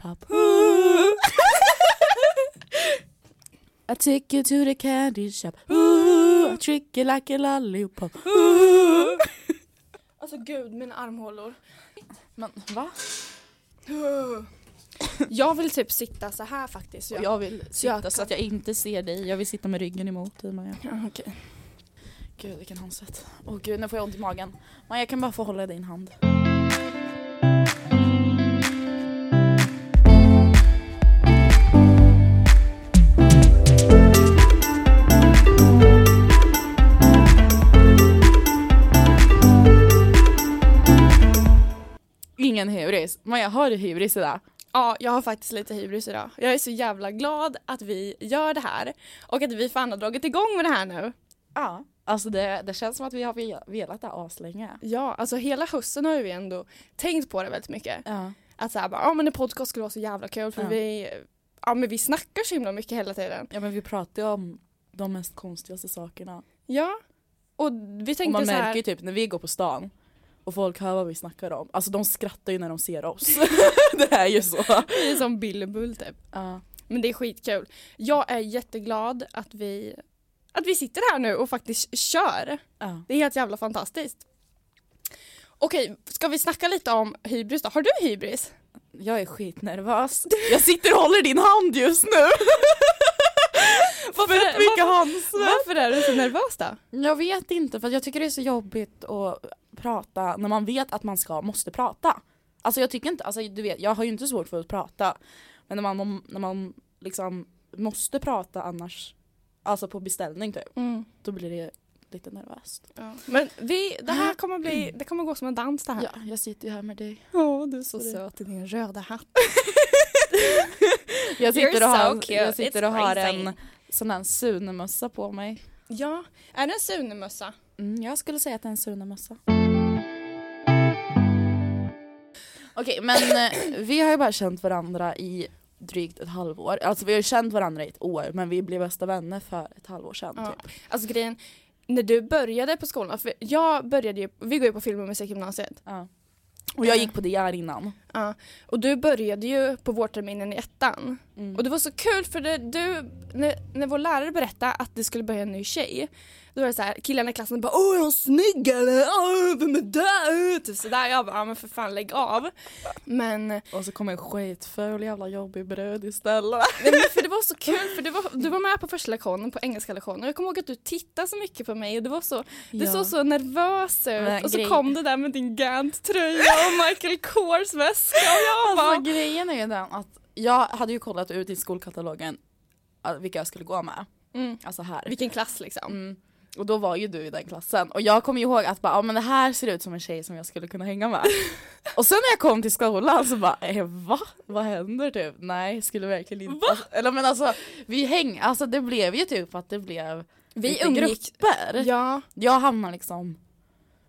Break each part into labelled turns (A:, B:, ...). A: Pop. I take you to the candy shop. Ooh, I trick you like a lollipop. Ooh.
B: Alltså gud, mina armhålor.
A: Men va?
B: Jag vill typ sitta så här faktiskt.
A: Och jag vill sitta
B: jag
A: så att jag inte ser dig. Jag vill sitta med ryggen emot dig Maja.
B: Ja, okej.
A: Gud vilken handsvett. Åh gud nu får jag ont i magen. Maja jag kan bara få hålla i din hand. Ingen hybris. Maja har du hybris idag?
B: Ja, jag har faktiskt lite hybris idag. Jag är så jävla glad att vi gör det här och att vi fan har dragit igång med det här nu.
A: Ja. Alltså det, det känns som att vi har ve- velat det här aslänge.
B: Ja, alltså hela hösten har ju vi ändå tänkt på det väldigt mycket.
A: Ja.
B: Att såhär bara, ja men en podcast skulle vara så jävla kul för
A: Ja.
B: vi, ja men vi snackar så himla mycket hela tiden.
A: Ja men vi pratar ju om de mest konstigaste sakerna.
B: Ja. Och vi
A: och
B: tänkte
A: man
B: så
A: märker
B: här,
A: ju typ när vi går på stan och folk hör vad vi snackar om. Alltså de skrattar ju när de ser oss. det är ju så.
B: vi är som Bill och Bull typ.
A: Ja.
B: Men det är skitkul. Jag är jätteglad att vi, att vi sitter här nu och faktiskt kör.
A: Ja.
B: Det är helt jävla fantastiskt. Okej, ska vi snacka lite om hybris då? Har du hybris?
A: Jag är skitnervös. Jag sitter och håller din hand just nu.
B: Varför,
A: Fett mycket handsvett.
B: varför är du så nervös då?
A: Jag vet inte för jag tycker det är så jobbigt att prata när man vet att man ska, måste prata. Alltså jag tycker inte, alltså du vet jag har ju inte svårt för att prata. Men när man, när man liksom måste prata annars, alltså på beställning typ, då blir det lite nervöst.
B: Ja. Mm. Men vi, det här kommer bli, det kommer gå som en dans det här.
A: Ja, jag sitter ju här med dig.
B: Åh, du är så
A: Sorry.
B: söt i din röda hatt.
A: Jag sitter och
B: You're
A: har,
B: so cute.
A: jag sitter och
B: It's
A: har
B: crazy.
A: en sån där sunemössa på mig.
B: Ja, är det en Sunemössa?
A: Mm, jag skulle säga att det är en sunemössa. Okej, men eh, vi har ju bara känt varandra i drygt ett halvår. Alltså vi har ju känt varandra i ett år men vi blev bästa vänner för ett halvår sedan
B: Ja.
A: typ.
B: Alltså grejen, när du började på skolan, för jag började ju, vi går ju på film och musikgymnasiet.
A: Ja. Och jag gick på det här innan.
B: Ja. Och du började ju på vårterminen i ettan.
A: Mm.
B: Och det var så kul för det, du, när, när vår lärare berättade att det skulle börja en ny tjej, då var det så här, killarna i klassen bara åh är hon snygg eller? Åh vem är det? Typ sådär. Jag bara ja men för fan lägg av. Men, nej,
A: Och så kom en skitful jävla jobbig brud istället.
B: men för det var så kul för du var, du var med på första lektionen, på engelska lektionen. Jag kommer ihåg att du tittade så mycket på mig och det var så, du
A: Ja.
B: såg så nervös ut.
A: Men
B: och så
A: grej-
B: kom du där med din Gant-tröja och Michael Kors väska och jag bara
A: Alltså grejen är ju den att jag hade ju kollat ut i skolkatalogen eh, vilka jag skulle gå med.
B: Mm.
A: Alltså här.
B: vilken klass liksom.
A: Mm. Och då var ju du i den klassen och jag kommer ihåg att bara, ah, men det här ser ut som en tjej som jag skulle kunna hänga med. och sen när jag kom till skolan så bara, eh, va? Vad händer typ? Nej, skulle verkligen inte. Va? Eller men alltså, vi häng, alltså det blev ju typ att det blev
B: Vi
A: lite
B: umgicks-
A: grupper.
B: Ja.
A: Jag hamnar liksom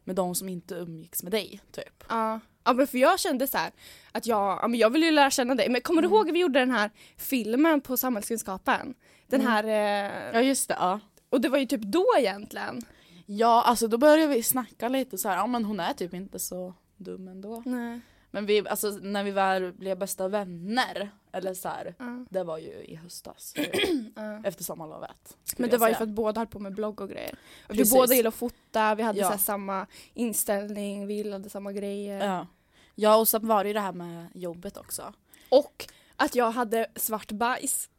A: med de som inte umgicks med dig typ.
B: Ja, ja men för jag kände så här att jag, ja, men jag ville ju lära känna dig. Men kommer
A: Mm.
B: du ihåg att vi gjorde den här filmen på samhällskunskapen? Den
A: Mm.
B: här, eh,
A: Ja just det, ja.
B: och det var ju typ då egentligen.
A: Ja alltså då började vi snacka lite så här, ja men hon är typ inte så dum ändå.
B: Nej.
A: Men vi, alltså när vi väl blev bästa vänner, eller så här,
B: Ja.
A: det var ju i höstas. Efter sommarlovet. skulle
B: Men det
A: jag
B: var ju
A: säga.
B: för att båda höll på med blogg och grejer. Och vi
A: Precis.
B: båda gillade att fota, vi hade
A: Ja.
B: så här samma inställning, vi gillade samma grejer.
A: Ja. ja och sen var det ju det här med jobbet också.
B: Och att jag hade svart bajs.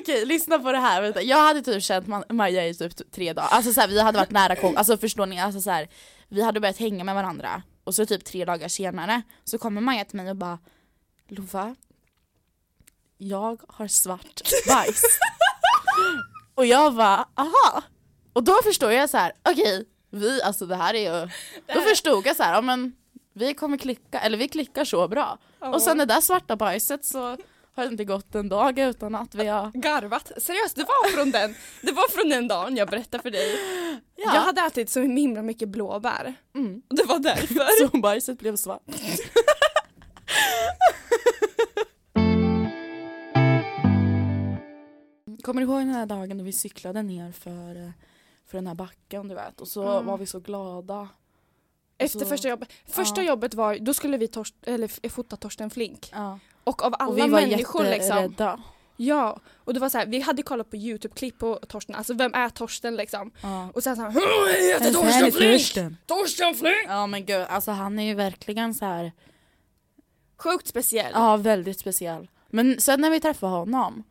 A: Okej, lyssna på det här. Vänta. Jag hade typ känt Ma- Maja i typ tre dagar. Alltså så här, vi hade varit nära kom- alltså förstår ni? Alltså så här, vi hade börjat hänga med varandra och så typ tre dagar senare så kommer Maja till mig och bara Lova, jag har svart bajs. och jag bara aha. Och då förstår jag så här, okej, vi, alltså det här är ju, då förstod jag så här, ja men vi kommer klicka, eller vi klickar så bra. Och sen det där svarta bajset så har det inte gått en dag utan att vi har
B: Garvat. Seriöst, det var från den, det var från den dagen jag berättade för dig.
A: Ja.
B: Jag hade ätit så himla mycket blåbär.
A: Mm.
B: Och det var därför.
A: Så bajset blev svart. Kommer du ihåg den här dagen då vi eh, cyklade ner för, för den här backen du vet och så
B: Mm.
A: var vi så glada
B: Efter
A: så-
B: första jobbet. Första
A: Alltså, Ja.
B: jobbet var, då skulle vi tors- eller, f- fota Torsten Flink.
A: Ja.
B: Och av alla
A: Och vi var
B: människor liksom.
A: jätterädda.
B: Ja, och det var så här, vi hade kollat på YouTube-klipp på Torsten, alltså vem är Torsten liksom?
A: Ja.
B: Och sen så här, "Åh, jag heter
A: Alltså,
B: Torsten Flink! Torsten Flink!
A: Ja men gud, alltså han är ju verkligen så här.
B: Sjukt speciell.
A: ja väldigt speciell. Men sen när vi träffade honom,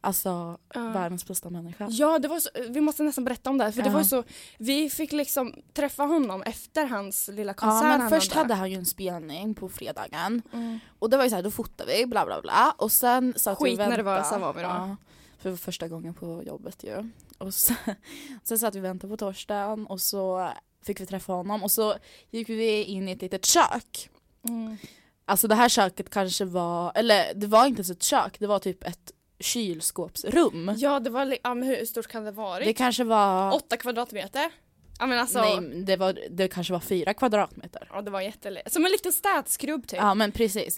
A: alltså
B: Ja.
A: världens bästa människa.
B: Ja, det var så, vi måste nästan berätta om det här, för det
A: Ja.
B: var ju så, vi fick liksom träffa honom efter hans lilla
A: Ja,
B: konsert.
A: men
B: han
A: först hade han ju en spelning på fredagen
B: Mm.
A: och det var ju så här, då fotade vi bla bla bla och sen satt vi
B: Skit
A: och
B: när
A: väntade.
B: det var, så var vi då.
A: Ja, för det var första gången på jobbet ju. Och sen, sen satt vi och väntade på torsdagen och så fick vi träffa honom och så gick vi in i ett litet kök.
B: Mm.
A: Alltså det här köket kanske var, eller det var inte ens ett kök, det var typ ett kylskåpsrum.
B: Ja, det var, li- ja, men hur stort kan det vara?
A: Det kanske var,
B: Åtta kvadratmeter? Ja men alltså,
A: nej, det, var det kanske var fyra kvadratmeter.
B: ja, det var jättele... Som en liten städskrubb typ.
A: Ja men precis.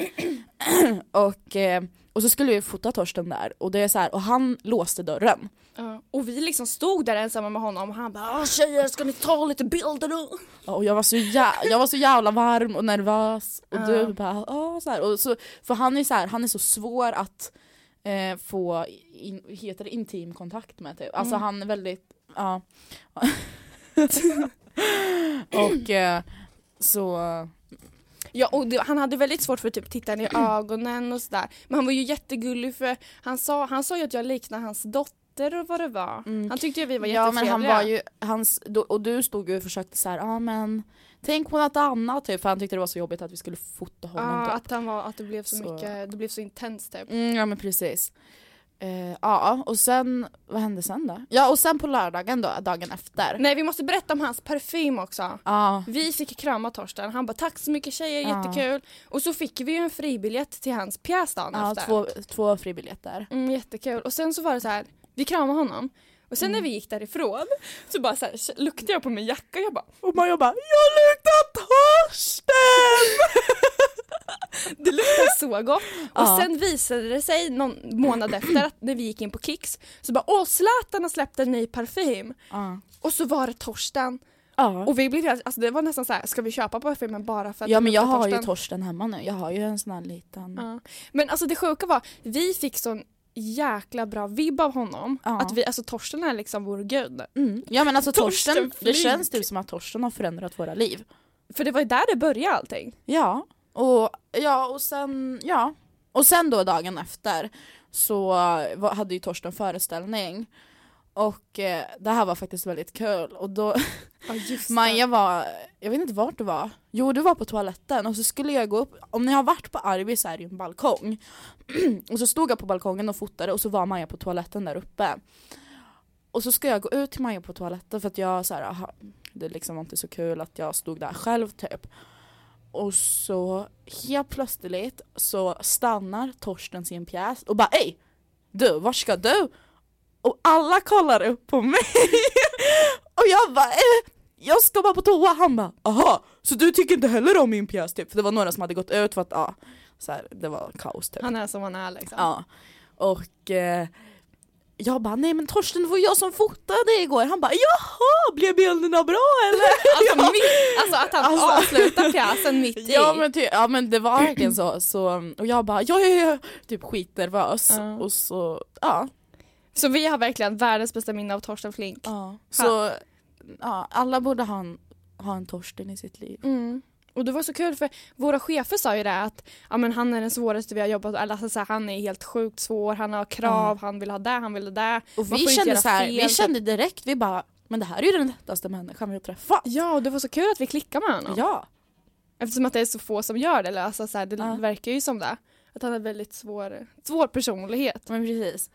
A: och, eh, och så skulle vi fota Torsten där och det är så här, och han låste dörren.
B: Ja. Och vi liksom stod där ensamma med honom och han bara "Ah, tjejer ska ni ta lite bilder nu?
A: Och jag var så, jä- jag var så jävla varm och nervös och
B: Ja.
A: du bara åh så här. Och så, för han är så här, han är så svår att eh, få in, heter det, intim kontakt med typ. Alltså
B: Mm.
A: han är väldigt, ja. och eh, så,
B: Ja och det, han hade väldigt svårt för att typ titta ner i ögonen och sådär. Men han var ju jättegullig för han sa, han sa ju att jag liknar hans dotter och vad det var.
A: Mm.
B: Han tyckte ju vi var
A: ja men han
B: jättetrevliga.
A: var ju, hans, då- och du stod ju och försökte så här, ja ah, men tänk på något annat typ, för han tyckte det var så jobbigt att vi skulle fota honom.
B: Ja,
A: typ.
B: att, han var, att det blev så,
A: Så.
B: mycket, det blev så intensivt typ.
A: Mm, ja men precis. Eh, ja och sen, vad hände sen då? Ja och sen på lördagen då, dagen efter.
B: Nej vi måste berätta om hans parfym också.
A: Ja,
B: Vi fick krama Torsten, han bara tack så mycket tjejer,
A: Ja.
B: jättekul. Och så fick vi ju en fribiljett till hans pjäs dagen
A: ja
B: efter.
A: två, två fribiljetter.
B: Mm, jättekul. Och sen så var det så här, vi kramade honom. Och sen när
A: Mm.
B: vi gick därifrån så bara så här, k- luktade jag på min jacka och jag bara
A: Och Maja bara “Jag luktar Torsten!”
B: det luktar så gott. Och
A: Ja.
B: sen visade det sig någon månad efter att när vi gick in på Kicks så bara åh Zlatan har släppt en ny parfym.
A: Ja.
B: Och så var det Torsten.
A: Ja.
B: Och vi blev helt- alltså det var nästan så här, ska vi köpa parfymen bara för att
A: ja
B: det
A: men jag
B: luktar
A: har ju Torsten hemma nu, jag har ju en sån här liten.
B: Ja. Men alltså det sjuka var, vi fick sån jäkla bra vibb av honom.
A: Ja.
B: Att vi, alltså Torsten är liksom vår gud.
A: Mm. Ja men alltså Torsten,
B: Torsten
A: det
B: Flink.
A: känns typ som att Torsten har förändrat våra liv.
B: För det var ju där det började allting.
A: Ja, och, ja, och sen, ja. Och sen då dagen efter så var- hade ju Torsten föreställning och eh, det här var faktiskt väldigt kul och då
B: Ja just
A: Maja var, jag vet inte vart du var, jo du var på toaletten och så skulle jag gå upp, om ni har varit på Arby så är det ju en balkong och så stod jag på balkongen och fotade och så var Maja på toaletten där uppe och så ska jag gå ut till Maja på toaletten för att jag så här, aha, det liksom var inte så kul att jag stod där själv typ och så helt plötsligt så stannar Torsten sin pjäs och bara ey du, vart ska du? Och alla kollar upp på mig och jag bara eh, jag ska bara på toa, han bara aha, så du tycker inte heller om min pjäs typ? För det var några som hade gått ut för att ja, så här, det var kaos typ.
B: Han är som han är liksom.
A: Ja. Och eh, jag bara, nej men Torsten det var jag som fotade igår. Han bara, jaha blev bilderna bra eller?
B: Alltså, mitt, alltså att han
A: Alltså.
B: avslutar pjäsen mitt i.
A: ja, men ty- ja men det var verkligen så. så och jag bara, ja ja ja, typ skitnervös.
B: Ja.
A: Och så, ja.
B: Så vi har verkligen världens bästa minne av Torsten Flink.
A: Så, ja alla borde ha en, ha en Torsten i sitt liv.
B: Mm. Och det var så kul för våra chefer sa ju det att ja, men han är den svåraste vi har jobbat med. Alltså, så här, han är helt sjukt svår, han har krav, han vill ha det, han vill ha det.
A: Och vi
B: Man får inte
A: kände,
B: göra
A: så här,
B: fel,
A: vi
B: typ.
A: kände direkt, vi bara, men det här är ju den lättaste människan vi har träffat.
B: Ja, och det var så kul att vi klickade med honom.
A: ja.
B: Eftersom att det är så få som gör det. Eller, alltså, så här, det
A: Ja.
B: verkar ju som det. Att han är väldigt svår, svår personlighet.
A: Men precis.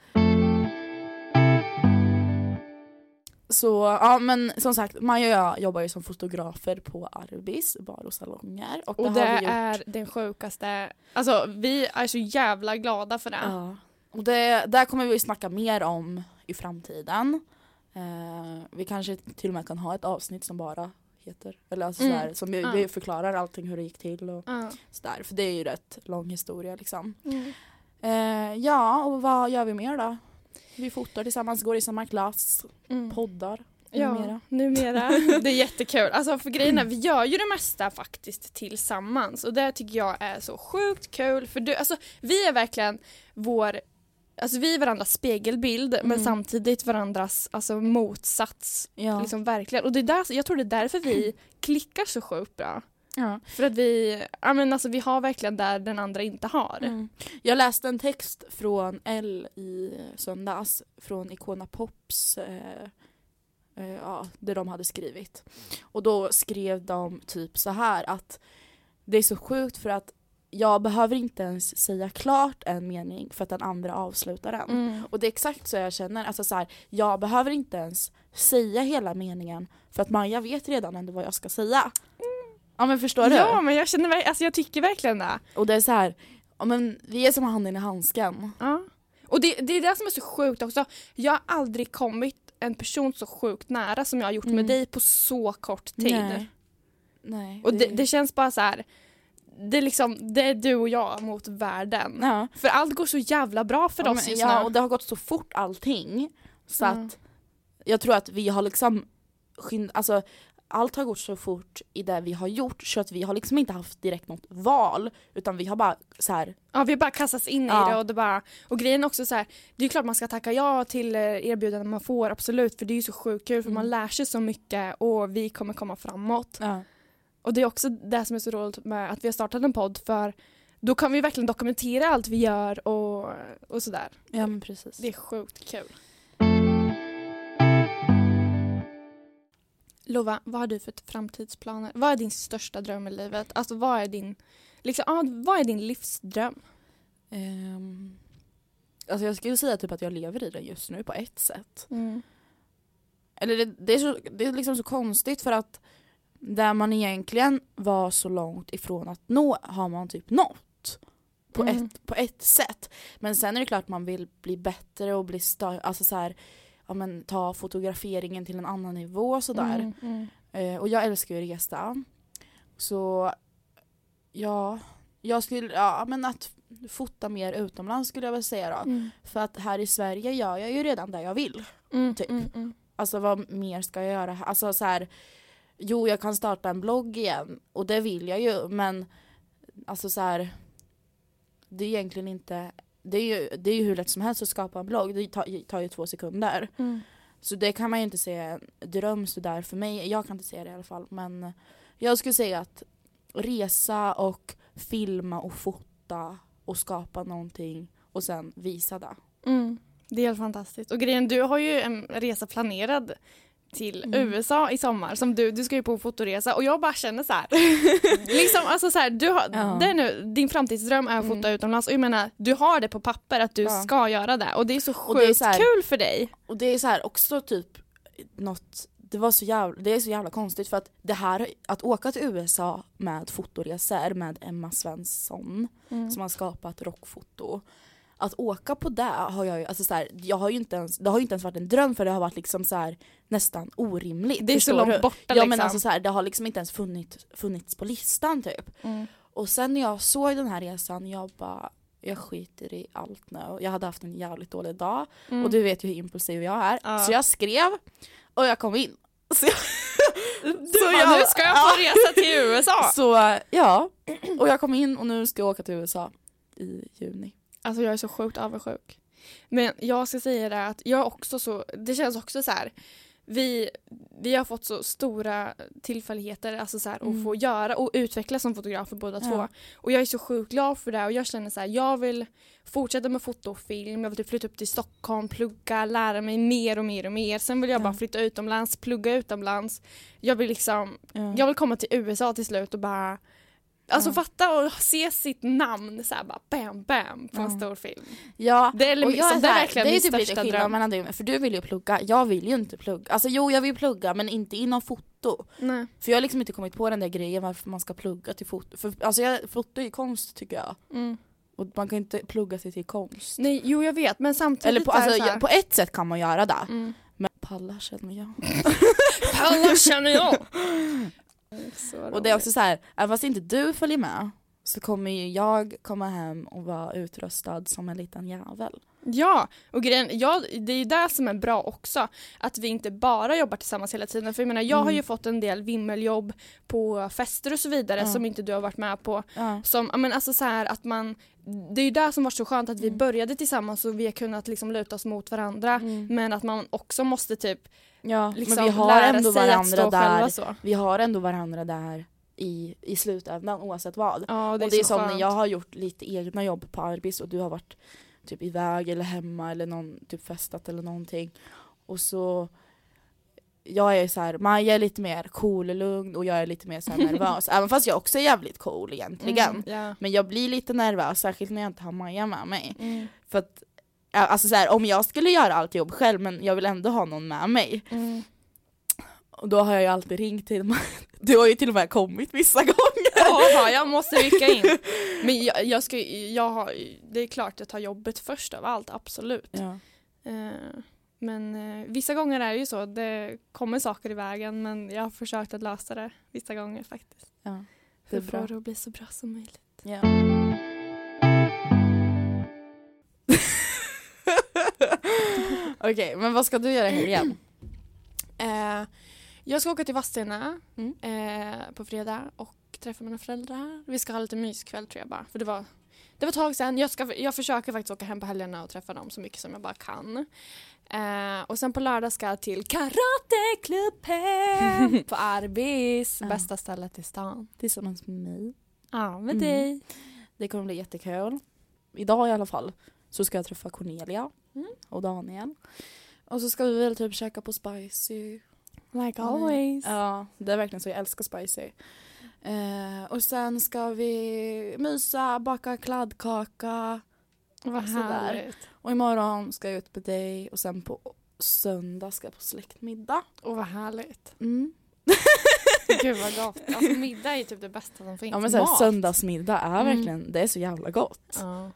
A: Så ja men som sagt, Maja och jag jobbar ju som fotografer på Arbis bar och salonger. Och det,
B: Och det,
A: har vi gjort.
B: är den sjukaste, alltså vi är så jävla glada för det.
A: Ja. Och det, där kommer vi snacka mer om i framtiden. Eh, vi kanske till och med kan ha ett avsnitt som bara heter, eller alltså
B: Mm.
A: sådär, som vi,
B: Ja.
A: vi förklarar allting hur det gick till och
B: Ja.
A: sådär. För det är ju rätt lång historia liksom.
B: Mm.
A: Eh, ja och vad gör vi mer då? Vi fotar tillsammans, går i samma klass,
B: Mm.
A: poddar.
B: Ja,
A: Numera. Mm.
B: numera. Det är jättekul. Alltså för grejen är, vi gör ju det mesta faktiskt tillsammans och det tycker jag är så sjukt kul för du, alltså vi är verkligen vår, alltså vi är varandras spegelbild men
A: Mm.
B: samtidigt varandras alltså motsats
A: Ja.
B: liksom verkligen och det är där, jag tror det är därför vi klickar så sjukt bra.
A: ja.
B: För att vi, ja men alltså vi har verkligen där den andra inte har.
A: Mm. Jag läste en text från L i söndags från Icona Pops eh, eh, ja, det de hade skrivit. Och då skrev de typ så här att det är så sjukt för att jag behöver inte ens säga klart en mening för att den andra avslutar den.
B: Mm.
A: Och det är exakt så jag känner, alltså så här, jag behöver inte ens säga hela meningen för att Maja vet redan ändå vad jag ska säga. Ja men förstår du?
B: Mm. Ja men jag känner, verk- alltså jag tycker verkligen det.
A: Och det är så här, ja, men vi är som handen i handsken.
B: Ja. Och det, det är det som är så sjukt också. Jag har aldrig kommit en person så sjukt nära som jag har gjort
A: Mm.
B: med dig på så kort tid.
A: Nej. Nej.
B: Och det, det känns bara så här. Det är liksom, det är du och jag mot världen.
A: ja.
B: För allt går så jävla bra för
A: Ja,
B: oss
A: men-
B: just
A: ja,
B: nu.
A: och det har gått så fort allting. Så
B: Mm.
A: att jag tror att vi har liksom skynd, alltså allt har gått så fort i det vi har gjort så att vi har liksom inte haft direkt något val utan vi har bara så här.
B: Ja, vi bara kastas in
A: Ja.
B: i det och det bara... Och grejen är också så här, det är ju klart man ska tacka ja till eh, erbjudanden man får, absolut, för det är ju så sjukt kul för
A: Mm.
B: man lär sig så mycket och vi kommer komma framåt. Och det är också det som är så roligt med att vi har startat en podd för då kan vi verkligen dokumentera allt vi gör och, och sådär.
A: ja men precis.
B: Det är sjukt kul. Lova, vad har du för framtidsplaner? Vad är din största dröm i livet? Alltså vad är din, liksom, ja, vad är din livsdröm?
A: Ehm, alltså jag skulle säga typ att jag lever i den just nu på ett sätt.
B: Mm.
A: Eller det, det, är, så, det är liksom så konstigt för att där man egentligen var så långt ifrån att nå har man typ nått. På,
B: Mm.
A: ett, på ett sätt. Men sen är det klart man vill bli bättre och bli större, alltså så här, ja, men ta fotograferingen till en annan nivå och sådär.
B: Mm, mm.
A: Eh, och jag älskar ju att resa. Så ja, jag skulle, ja men att fota mer utomlands skulle jag väl säga då.
B: Mm.
A: För att här i Sverige gör jag ju redan det jag vill.
B: Mm,
A: Typ.
B: mm, mm.
A: Alltså vad mer ska jag göra? här? Alltså så här, jo jag kan starta en blogg igen och det vill jag ju men alltså så här, det är egentligen inte, det är ju, det är ju hur lätt som helst att skapa en blogg, det tar, tar ju två sekunder.
B: Mm.
A: Så det kan man ju inte säga är en dröm sådär för mig, jag kan inte säga det i alla fall men jag skulle säga att resa och filma och fota och skapa någonting och sen visa det.
B: Mm. Det är helt fantastiskt. Och grejen, du har ju en resa planerad till
A: Mm.
B: USA i sommar. Som du, du ska ju på en fotoresa och jag bara känner så här. liksom, alltså så här du har,
A: Ja. Mm.
B: det är nu, din framtidsdröm är att fota utomlands och jag menar, du har det på papper att du
A: Ja.
B: ska göra det och det är så
A: Och det är
B: sjukt
A: så här-
B: kul för dig.
A: Och det är så här också typ något, det var så jävla, det är så jävla konstigt för att det här, att åka till USA med fotoresor med Emma Svensson
B: Mm.
A: som har skapat rockfoto. Att åka på det har jag ju, alltså så här, jag har ju inte ens, det har ju inte ens varit en dröm för det har varit liksom så här nästan orimligt.
B: Det är så
A: förstår
B: långt
A: du?
B: borta
A: Ja
B: liksom.
A: men alltså så här, det har liksom inte ens funnits, funnits på listan typ.
B: Mm.
A: Och sen när jag såg den här resan, jag bara jag skiter i allt nu. Jag hade haft en jävligt dålig dag och du vet ju hur impulsiv jag är.
B: Mm. Ja.
A: Så jag skrev och jag kom in. Så, jag,
B: Du bara, nu ska jag på resa till USA!
A: så ja, och jag kom in och nu ska jag åka till USA i juni.
B: Alltså jag är så sjukt avundsjuk. Men jag ska säga det att jag är också så, det känns också så här. Vi, vi har fått så stora tillfälligheter alltså så här,
A: Mm.
B: att få göra och utvecklas som fotografer båda
A: Ja.
B: två. Och jag är så sjukt glad för det och jag känner så här, jag vill fortsätta med foto och film, jag vill typ flytta upp till Stockholm, plugga, lära mig mer och mer och mer. Sen vill jag
A: Ja.
B: bara flytta utomlands, plugga utomlands. Jag vill liksom, jag vill komma till USA till slut och bara Alltså
A: Ja.
B: fatta och se sitt namn så här bara bam bam på en
A: Ja.
B: stor film.
A: Ja,
B: Det är,
A: och
B: liksom,
A: jag är,
B: det är
A: såhär,
B: verkligen
A: det är
B: min
A: typ lite
B: största
A: skillnad
B: dröm.
A: mellan dig och mig, för du vill ju plugga, jag vill ju inte plugga. Alltså jo jag vill plugga men inte inom foto.
B: Nej.
A: För jag har liksom inte kommit på den där grejen varför man ska plugga till foto. För, alltså jag, foto är ju konst tycker jag.
B: Mm.
A: Och man kan ju inte plugga sig till konst.
B: Nej, jo jag vet men samtidigt
A: Eller på, alltså,
B: är det så här-
A: ja, på ett sätt kan man göra det.
B: Mm.
A: Men pallar känner jag.
B: Alla känner jag!
A: Och det är också så här, även fast inte du följer med så kommer ju jag komma hem och vara utrustad som en liten jävel.
B: Ja, och grejen, ja, det är ju det som är bra också, att vi inte bara jobbar tillsammans hela tiden. För jag menar, jag har ju fått en del vimmeljobb på fester och så vidare
A: Ja.
B: som inte du har varit med på.
A: Ja.
B: Som, ja, men alltså så här att man, det är ju det som var så skönt att
A: Mm.
B: vi började tillsammans och vi har kunnat liksom luta oss mot varandra. Men att man också måste typ
A: Mm. Ja,
B: liksom
A: men vi har
B: lära
A: ändå
B: sig att
A: varandra
B: stå själva
A: där.
B: så.
A: Vi har ändå varandra där i, i slutändan oavsett vad.
B: Ja,
A: och det är
B: så
A: som när
B: skönt.
A: jag har gjort lite egna jobb på Arbis och du har varit typ iväg eller hemma eller någon, typ festat eller någonting. Och så jag är så här, Maja är lite mer cool och lugn och jag är lite mer så här nervös. Även fast jag också är jävligt cool egentligen.
B: Mm, ja.
A: Men jag blir lite nervös, särskilt när jag inte har Maja med mig.
B: Mm,
A: För att, ja, alltså så här, om jag skulle göra allt jobb själv men jag vill ändå ha någon med mig.
B: mm.
A: Och då har jag ju alltid ringt till Maja. Du har ju till och med kommit vissa gånger.
B: Jaha, jag måste rycka in. Men jag, jag ska, jag har, det är klart jag tar jobbet först av allt, absolut.
A: Ja.
B: Eh, Men eh, vissa gånger är det ju så, det kommer saker i vägen men jag har försökt att lösa det vissa gånger faktiskt.
A: Ja. Det
B: För
A: är
B: att
A: bra.
B: få det att bli så bra som möjligt.
A: Ja. Okej, men vad ska du göra i helgen?
B: Eh, jag ska åka till Vadstena
A: Mm.
B: eh, på fredag och träffa mina föräldrar. Vi ska ha lite myskväll tror jag bara. För det var, det var ett tag sedan. Jag, ska, jag försöker faktiskt åka hem på helgerna och träffa dem så mycket som jag bara kan. Eh, och sen på lördag ska jag till karateklubben på Arbis.
A: Ja.
B: Bästa stället i stan.
A: Tillsammans med mig.
B: Ja, med
A: Mm.
B: dig.
A: Det kommer bli jättekul. Idag i alla fall så ska jag träffa Cornelia
B: Mm.
A: och Daniel. Och så ska vi väl typ käka på Spicy.
B: Like
A: Ja, men-
B: always.
A: Ja, det är verkligen så. Jag älskar spicy. Eh, och sen ska vi mysa, baka kladdkaka.
B: Vad
A: Sådär.
B: härligt.
A: Och imorgon ska jag ut på dig och sen på söndag ska jag på släktmiddag.
B: Och vad härligt.
A: Mm.
B: Gud vad gott. Alltså middag är ju typ det bästa som finns.
A: Ja men så här,
B: Mat.
A: söndagsmiddag är
B: Mm.
A: verkligen, det är så jävla gott.
B: Ja.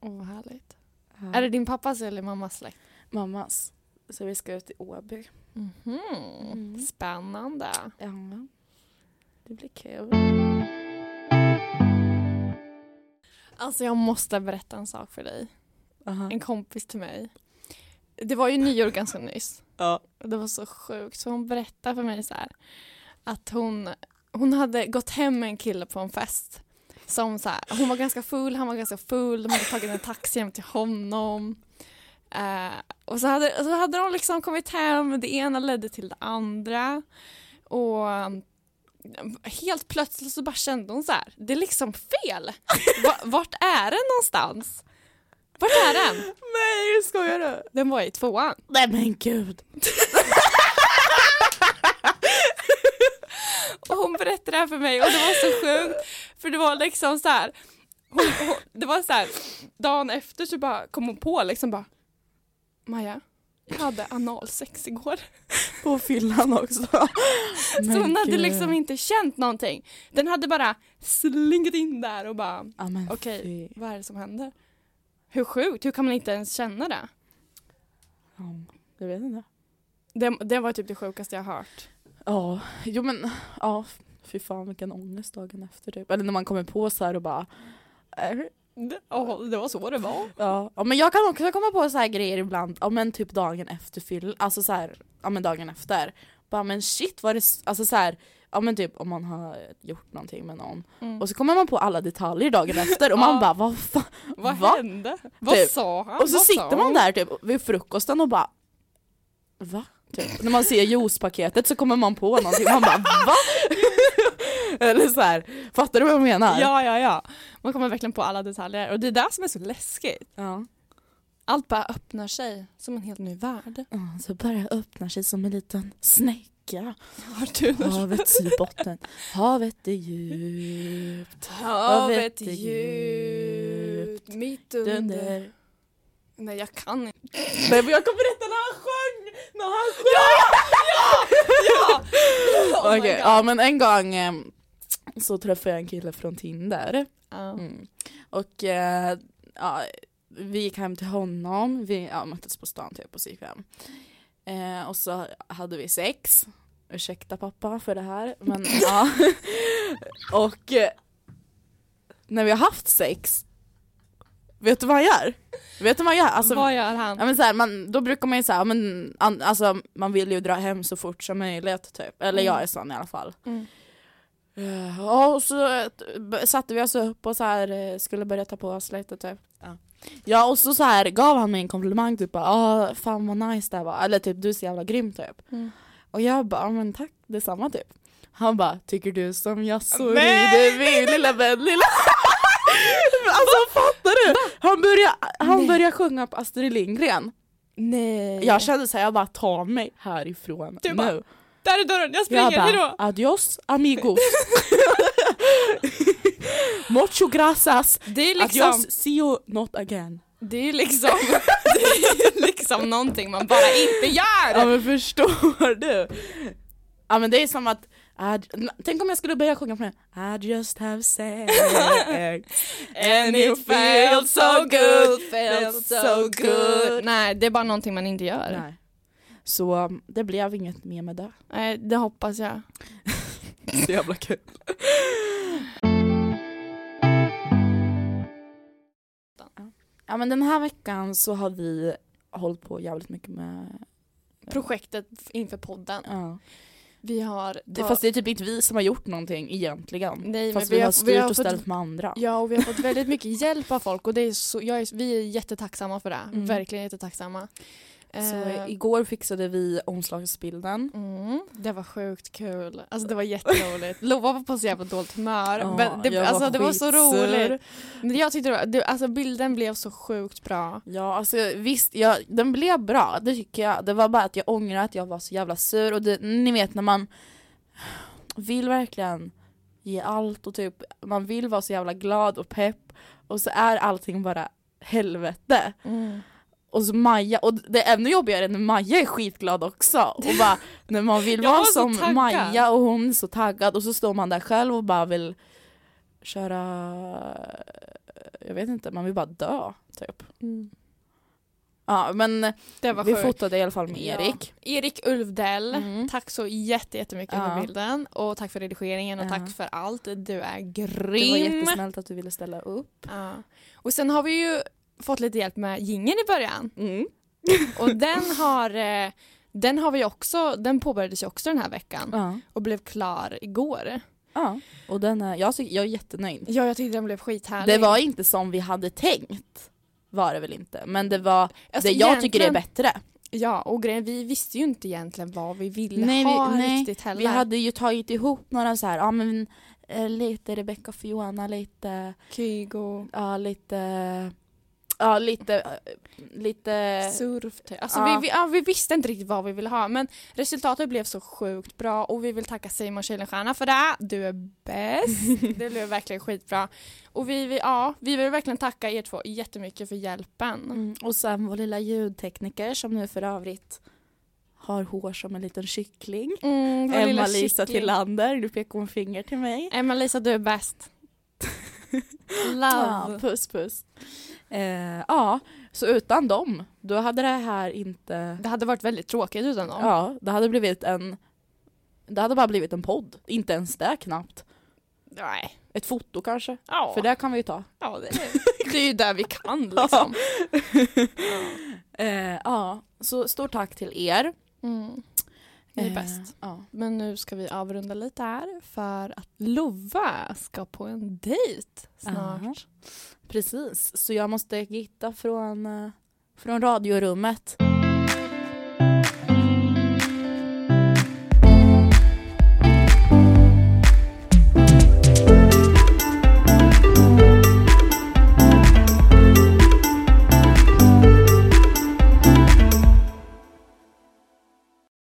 B: Åh vad härligt.
A: Ja.
B: Är det din pappas eller mammas släkt?
A: Mammas. Så vi ska ut till Åby. Mm.
B: Mm-hmm. Spännande.
A: Ja. Det blir kul.
B: Alltså jag måste berätta en sak för dig.
A: Aha.
B: En kompis till mig. Det var ju nyår ganska nyss.
A: Ja.
B: Och det var så sjukt. Så hon berättade för mig så här att hon, hon hade gått hem med en kille på en fest. Som så här, hon var ganska full, han var ganska full, de hade tagit en taxi hem till honom. Eh, och så hade, så hade de liksom kommit hem, det ena ledde till det andra. Och um, helt plötsligt så bara kände hon så här, det är liksom fel. Va, vart är den någonstans? Vart är den?
A: Nej skojar du?
B: Den var i tvåan.
A: Nej men gud.
B: Och hon berättade det här för mig och det var så sjukt. För det var liksom så här. Hon, hon, det var så här. Dagen efter så bara kom hon på liksom bara. Maja, jag hade analsex igår.
A: På fyllan också.
B: så hon hade liksom inte känt någonting. Den hade bara slingit in där och bara.
A: Ja, men
B: Okej.
A: fy.
B: Vad är det som händer? Hur sjukt? Hur kan man inte ens känna det?
A: Ja, jag vet inte.
B: Det, det var typ det sjukaste jag hört.
A: Ja, jo men ja, fy fan vilken ångest dagen efter typ. Eller när man kommer på så här och bara eh,
B: Det, åh, det var så det var.
A: Ja. ja men jag kan också komma på så här grejer ibland, ja men typ dagen efter fyll, alltså så här, ja men dagen efter. Bara men shit var det, s- alltså så här, ja men typ om man har gjort någonting med någon.
B: Mm.
A: Och så kommer man på alla detaljer dagen efter och man
B: Ja.
A: bara vad fan.
B: Vad
A: va?
B: hände? Vad
A: Typ.
B: sa han?
A: Och så
B: Vad sa
A: sitter man
B: hon?
A: där typ vid frukosten och bara va? Typ. När man ser juicepaketet så kommer man på någonting man bara va? Eller så här, fattar du vad jag menar?
B: Ja, ja, ja. Man kommer verkligen på alla detaljer och det är det som är så läskigt.
A: ja.
B: Allt bara öppnar sig som en helt ny värld.
A: Ja, Så bara öppnar sig som en liten snäcka.
B: Har du
A: Havets botten. Havet är djupt.
B: Havet
A: är
B: djupt, mitt under...
A: Dunder.
B: Nej, jag kan inte.
A: Nej men jag kommer berätta när han sjöng! När han sjöng!
B: Oh my
A: Okej,
B: God.
A: ja men en gång eh, så träffade jag en kille från Tinder.
B: Ja.
A: Mm. Och eh, ja, vi gick hem till honom, vi ja, möttes på stan typ och så gick vi hem. Eh, och så hade vi sex. Ursäkta pappa för det här men ja. Och eh, när vi har haft sex Vet du vad han gör? Vet du vad han gör? Alltså,
B: Vad gör han?
A: Ja, men så här, man, då brukar man ju säga, men, an, alltså, man vill ju dra hem så fort som möjligt typ. Eller jag är sån i alla fall.
B: Mm.
A: Eh, Ja, och så eh, b- satte vi oss upp och så här, eh, skulle börja ta på oss lite typ. Ja, ja och så, så här, gav han mig en komplimang typ bara, ah, fan vad nice det här var. Eller typ du är så jävla grym typ.
B: Mm.
A: Och jag bara, "Ja, men tack detsamma typ. Han bara, tycker du som jag så
B: Men-
A: rider vi lilla vän lilla Alltså fattar du? Han börjar han
B: Nej.
A: börjar sjunga på Astrid Lindgren.
B: Nej.
A: Jag kände såhär, jag bara ta mig härifrån
B: Eh. Du
A: nu.
B: bara, Där är dörren, jag springer,
A: jag bara
B: hejdå!
A: adios amigos. Mucho gracias.
B: Det är liksom,
A: Adios, see you not again.
B: det är liksom, det är liksom någonting man bara inte
A: Ja
B: gör!
A: men förstår du? Ja men det är som att I- Tänk om jag skulle börja sjunga på den här. I just have sex
B: And it feels so good, feels so good Nej, det är bara någonting man inte gör. Nej,
A: Nej. Så um, det blev inget mer med det
B: det hoppas jag.
A: Så jävla kul Ja men den här veckan så har vi hållit på jävligt mycket med
B: Projektet inför podden.
A: ja.
B: Vi har...
A: det, Fast det är typ inte vi som har gjort någonting egentligen
B: Nej,
A: Fast
B: men
A: vi
B: vi
A: har,
B: har-
A: styrt
B: vi har
A: och
B: fått-
A: ställt med andra
B: Ja, och vi har fått väldigt mycket hjälp av folk och det är så, jag är, vi är jättetacksamma för det.
A: Mm.
B: Verkligen jättetacksamma.
A: Så
B: Eh,
A: igår fixade vi omslagsbilden
B: Mm, det var sjukt kul. Alltså det var jätteroligt. Lova var på så jävla dåligt humör.
A: Ja,
B: men det,
A: jag
B: alltså, det var så
A: skitsur.
B: roligt. Men jag tyckte det var, det, alltså bilden blev så sjukt bra.
A: Ja, alltså visst, ja, den blev bra, det tycker jag. Det var bara att jag ångrar att jag var så jävla sur och det, ni vet när man vill verkligen ge allt och typ man vill vara så jävla glad och pepp och så är allting bara helvete.
B: Mm.
A: Och så Maja, och det är ännu jobbigare när Maja är skitglad också och bara när man vill
B: Jag
A: vara
B: var så
A: som
B: taggad.
A: Maja och hon är så taggad och så står man där själv och bara vill köra, jag vet inte, man vill bara dö typ. Ja men
B: Mm. Det var
A: vi
B: sjukt.
A: fotade i alla fall med Erik.
B: Erik Ulfdell,
A: Mm.
B: tack så jätte, jättemycket
A: Ja.
B: för bilden och tack för redigeringen och
A: Ja.
B: tack för allt. Du är
A: Det var
B: grym!
A: jättesnällt att du ville ställa upp.
B: Ja. Och sen har vi ju fått lite hjälp med gingen i början
A: Mm.
B: och den har, eh, den har vi också, den påbörjades ju också den här veckan
A: Ja.
B: och blev klar igår.
A: ja. Och den är, jag, tycker- jag är jättenöjd.
B: Ja, jag tyckte den blev skithärlig.
A: Det var inte som vi hade tänkt. Var det väl inte. Men det var
B: Alltså,
A: det jag
B: egentligen-
A: tycker är bättre.
B: Ja, och grejen, vi visste ju inte egentligen vad vi ville
A: Nej, vi-
B: ha
A: nej.
B: riktigt heller.
A: Vi hade ju tagit ihop några så här, ja men eh, lite Rebecca och Fiona, lite,
B: Kygo,
A: ja lite, ja lite, eh, lite
B: surf, typ. alltså
A: ja.
B: vi, vi, ja, vi visste inte riktigt vad vi ville ha men resultatet blev så sjukt bra och vi vill tacka Simon Kuylenstierna för det. Du är bäst. det blev verkligen skitbra. Och vi, vi, ja, vi vill verkligen tacka er två jättemycket för hjälpen.
A: Mm, och sen vår lilla ljudtekniker som nu för övrigt har hår som en liten kyckling.
B: Mm, vår lilla
A: Emma-Lisa
B: kyckling.
A: Tillander, nu pekar hon finger till mig.
B: Emma-Lisa, du är bäst.
A: Ja,
B: Love.
A: puss puss. Eh, ja, så utan dem, då hade det här inte...
B: Det hade varit väldigt tråkigt utan dem.
A: Ja, det hade blivit en... Det hade bara blivit en podd, inte ens det knappt.
B: Nej.
A: Ett foto kanske,
B: Ja.
A: för det kan vi ju ta.
B: Ja, det är, det är ju där vi kan liksom.
A: Eh, ja, så stort tack till er.
B: Mm. Ni är
A: Eh,
B: bäst.
A: Ja.
B: Men nu ska vi avrunda lite här för att Lova ska på en dejt snart.
A: Aha. Precis, så jag måste gitta från, eh, från radiorummet.